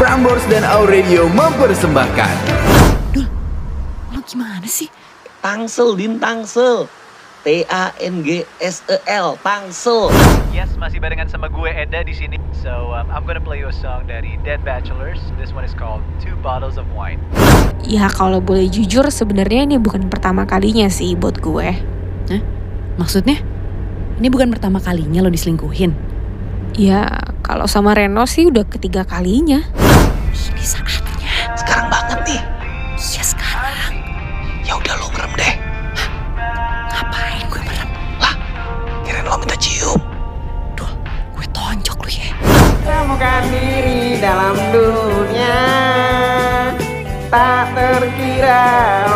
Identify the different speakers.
Speaker 1: Prambors dan Aurelio mempersembahkan.
Speaker 2: Lo gimana sih?
Speaker 3: Tangsel, Din Tangsel. T-A-N-G-S-E-L, E Tangsel.
Speaker 4: Yes, masih barengan sama gue Eda di sini. So um, I'm gonna play you a song dari Dead Bachelors. This one is called Two Bottles of Wine.
Speaker 5: Ya kalau boleh jujur sebenarnya ini bukan pertama kalinya sih buat gue.
Speaker 2: Maksudnya? Ini bukan pertama kalinya lo diselingkuhin.
Speaker 5: Ya kalau sama Reno sih udah ketiga kalinya.
Speaker 2: Ini saatnya.
Speaker 3: Sekarang banget nih.
Speaker 2: Iya sekarang.
Speaker 3: Ya udah lo ngerem deh.
Speaker 2: Ngapain gue merem?
Speaker 3: Kirain lo minta cium.
Speaker 2: Dul, gue tonjok lu ya.
Speaker 6: Temukan diri dalam dunia Tak terkira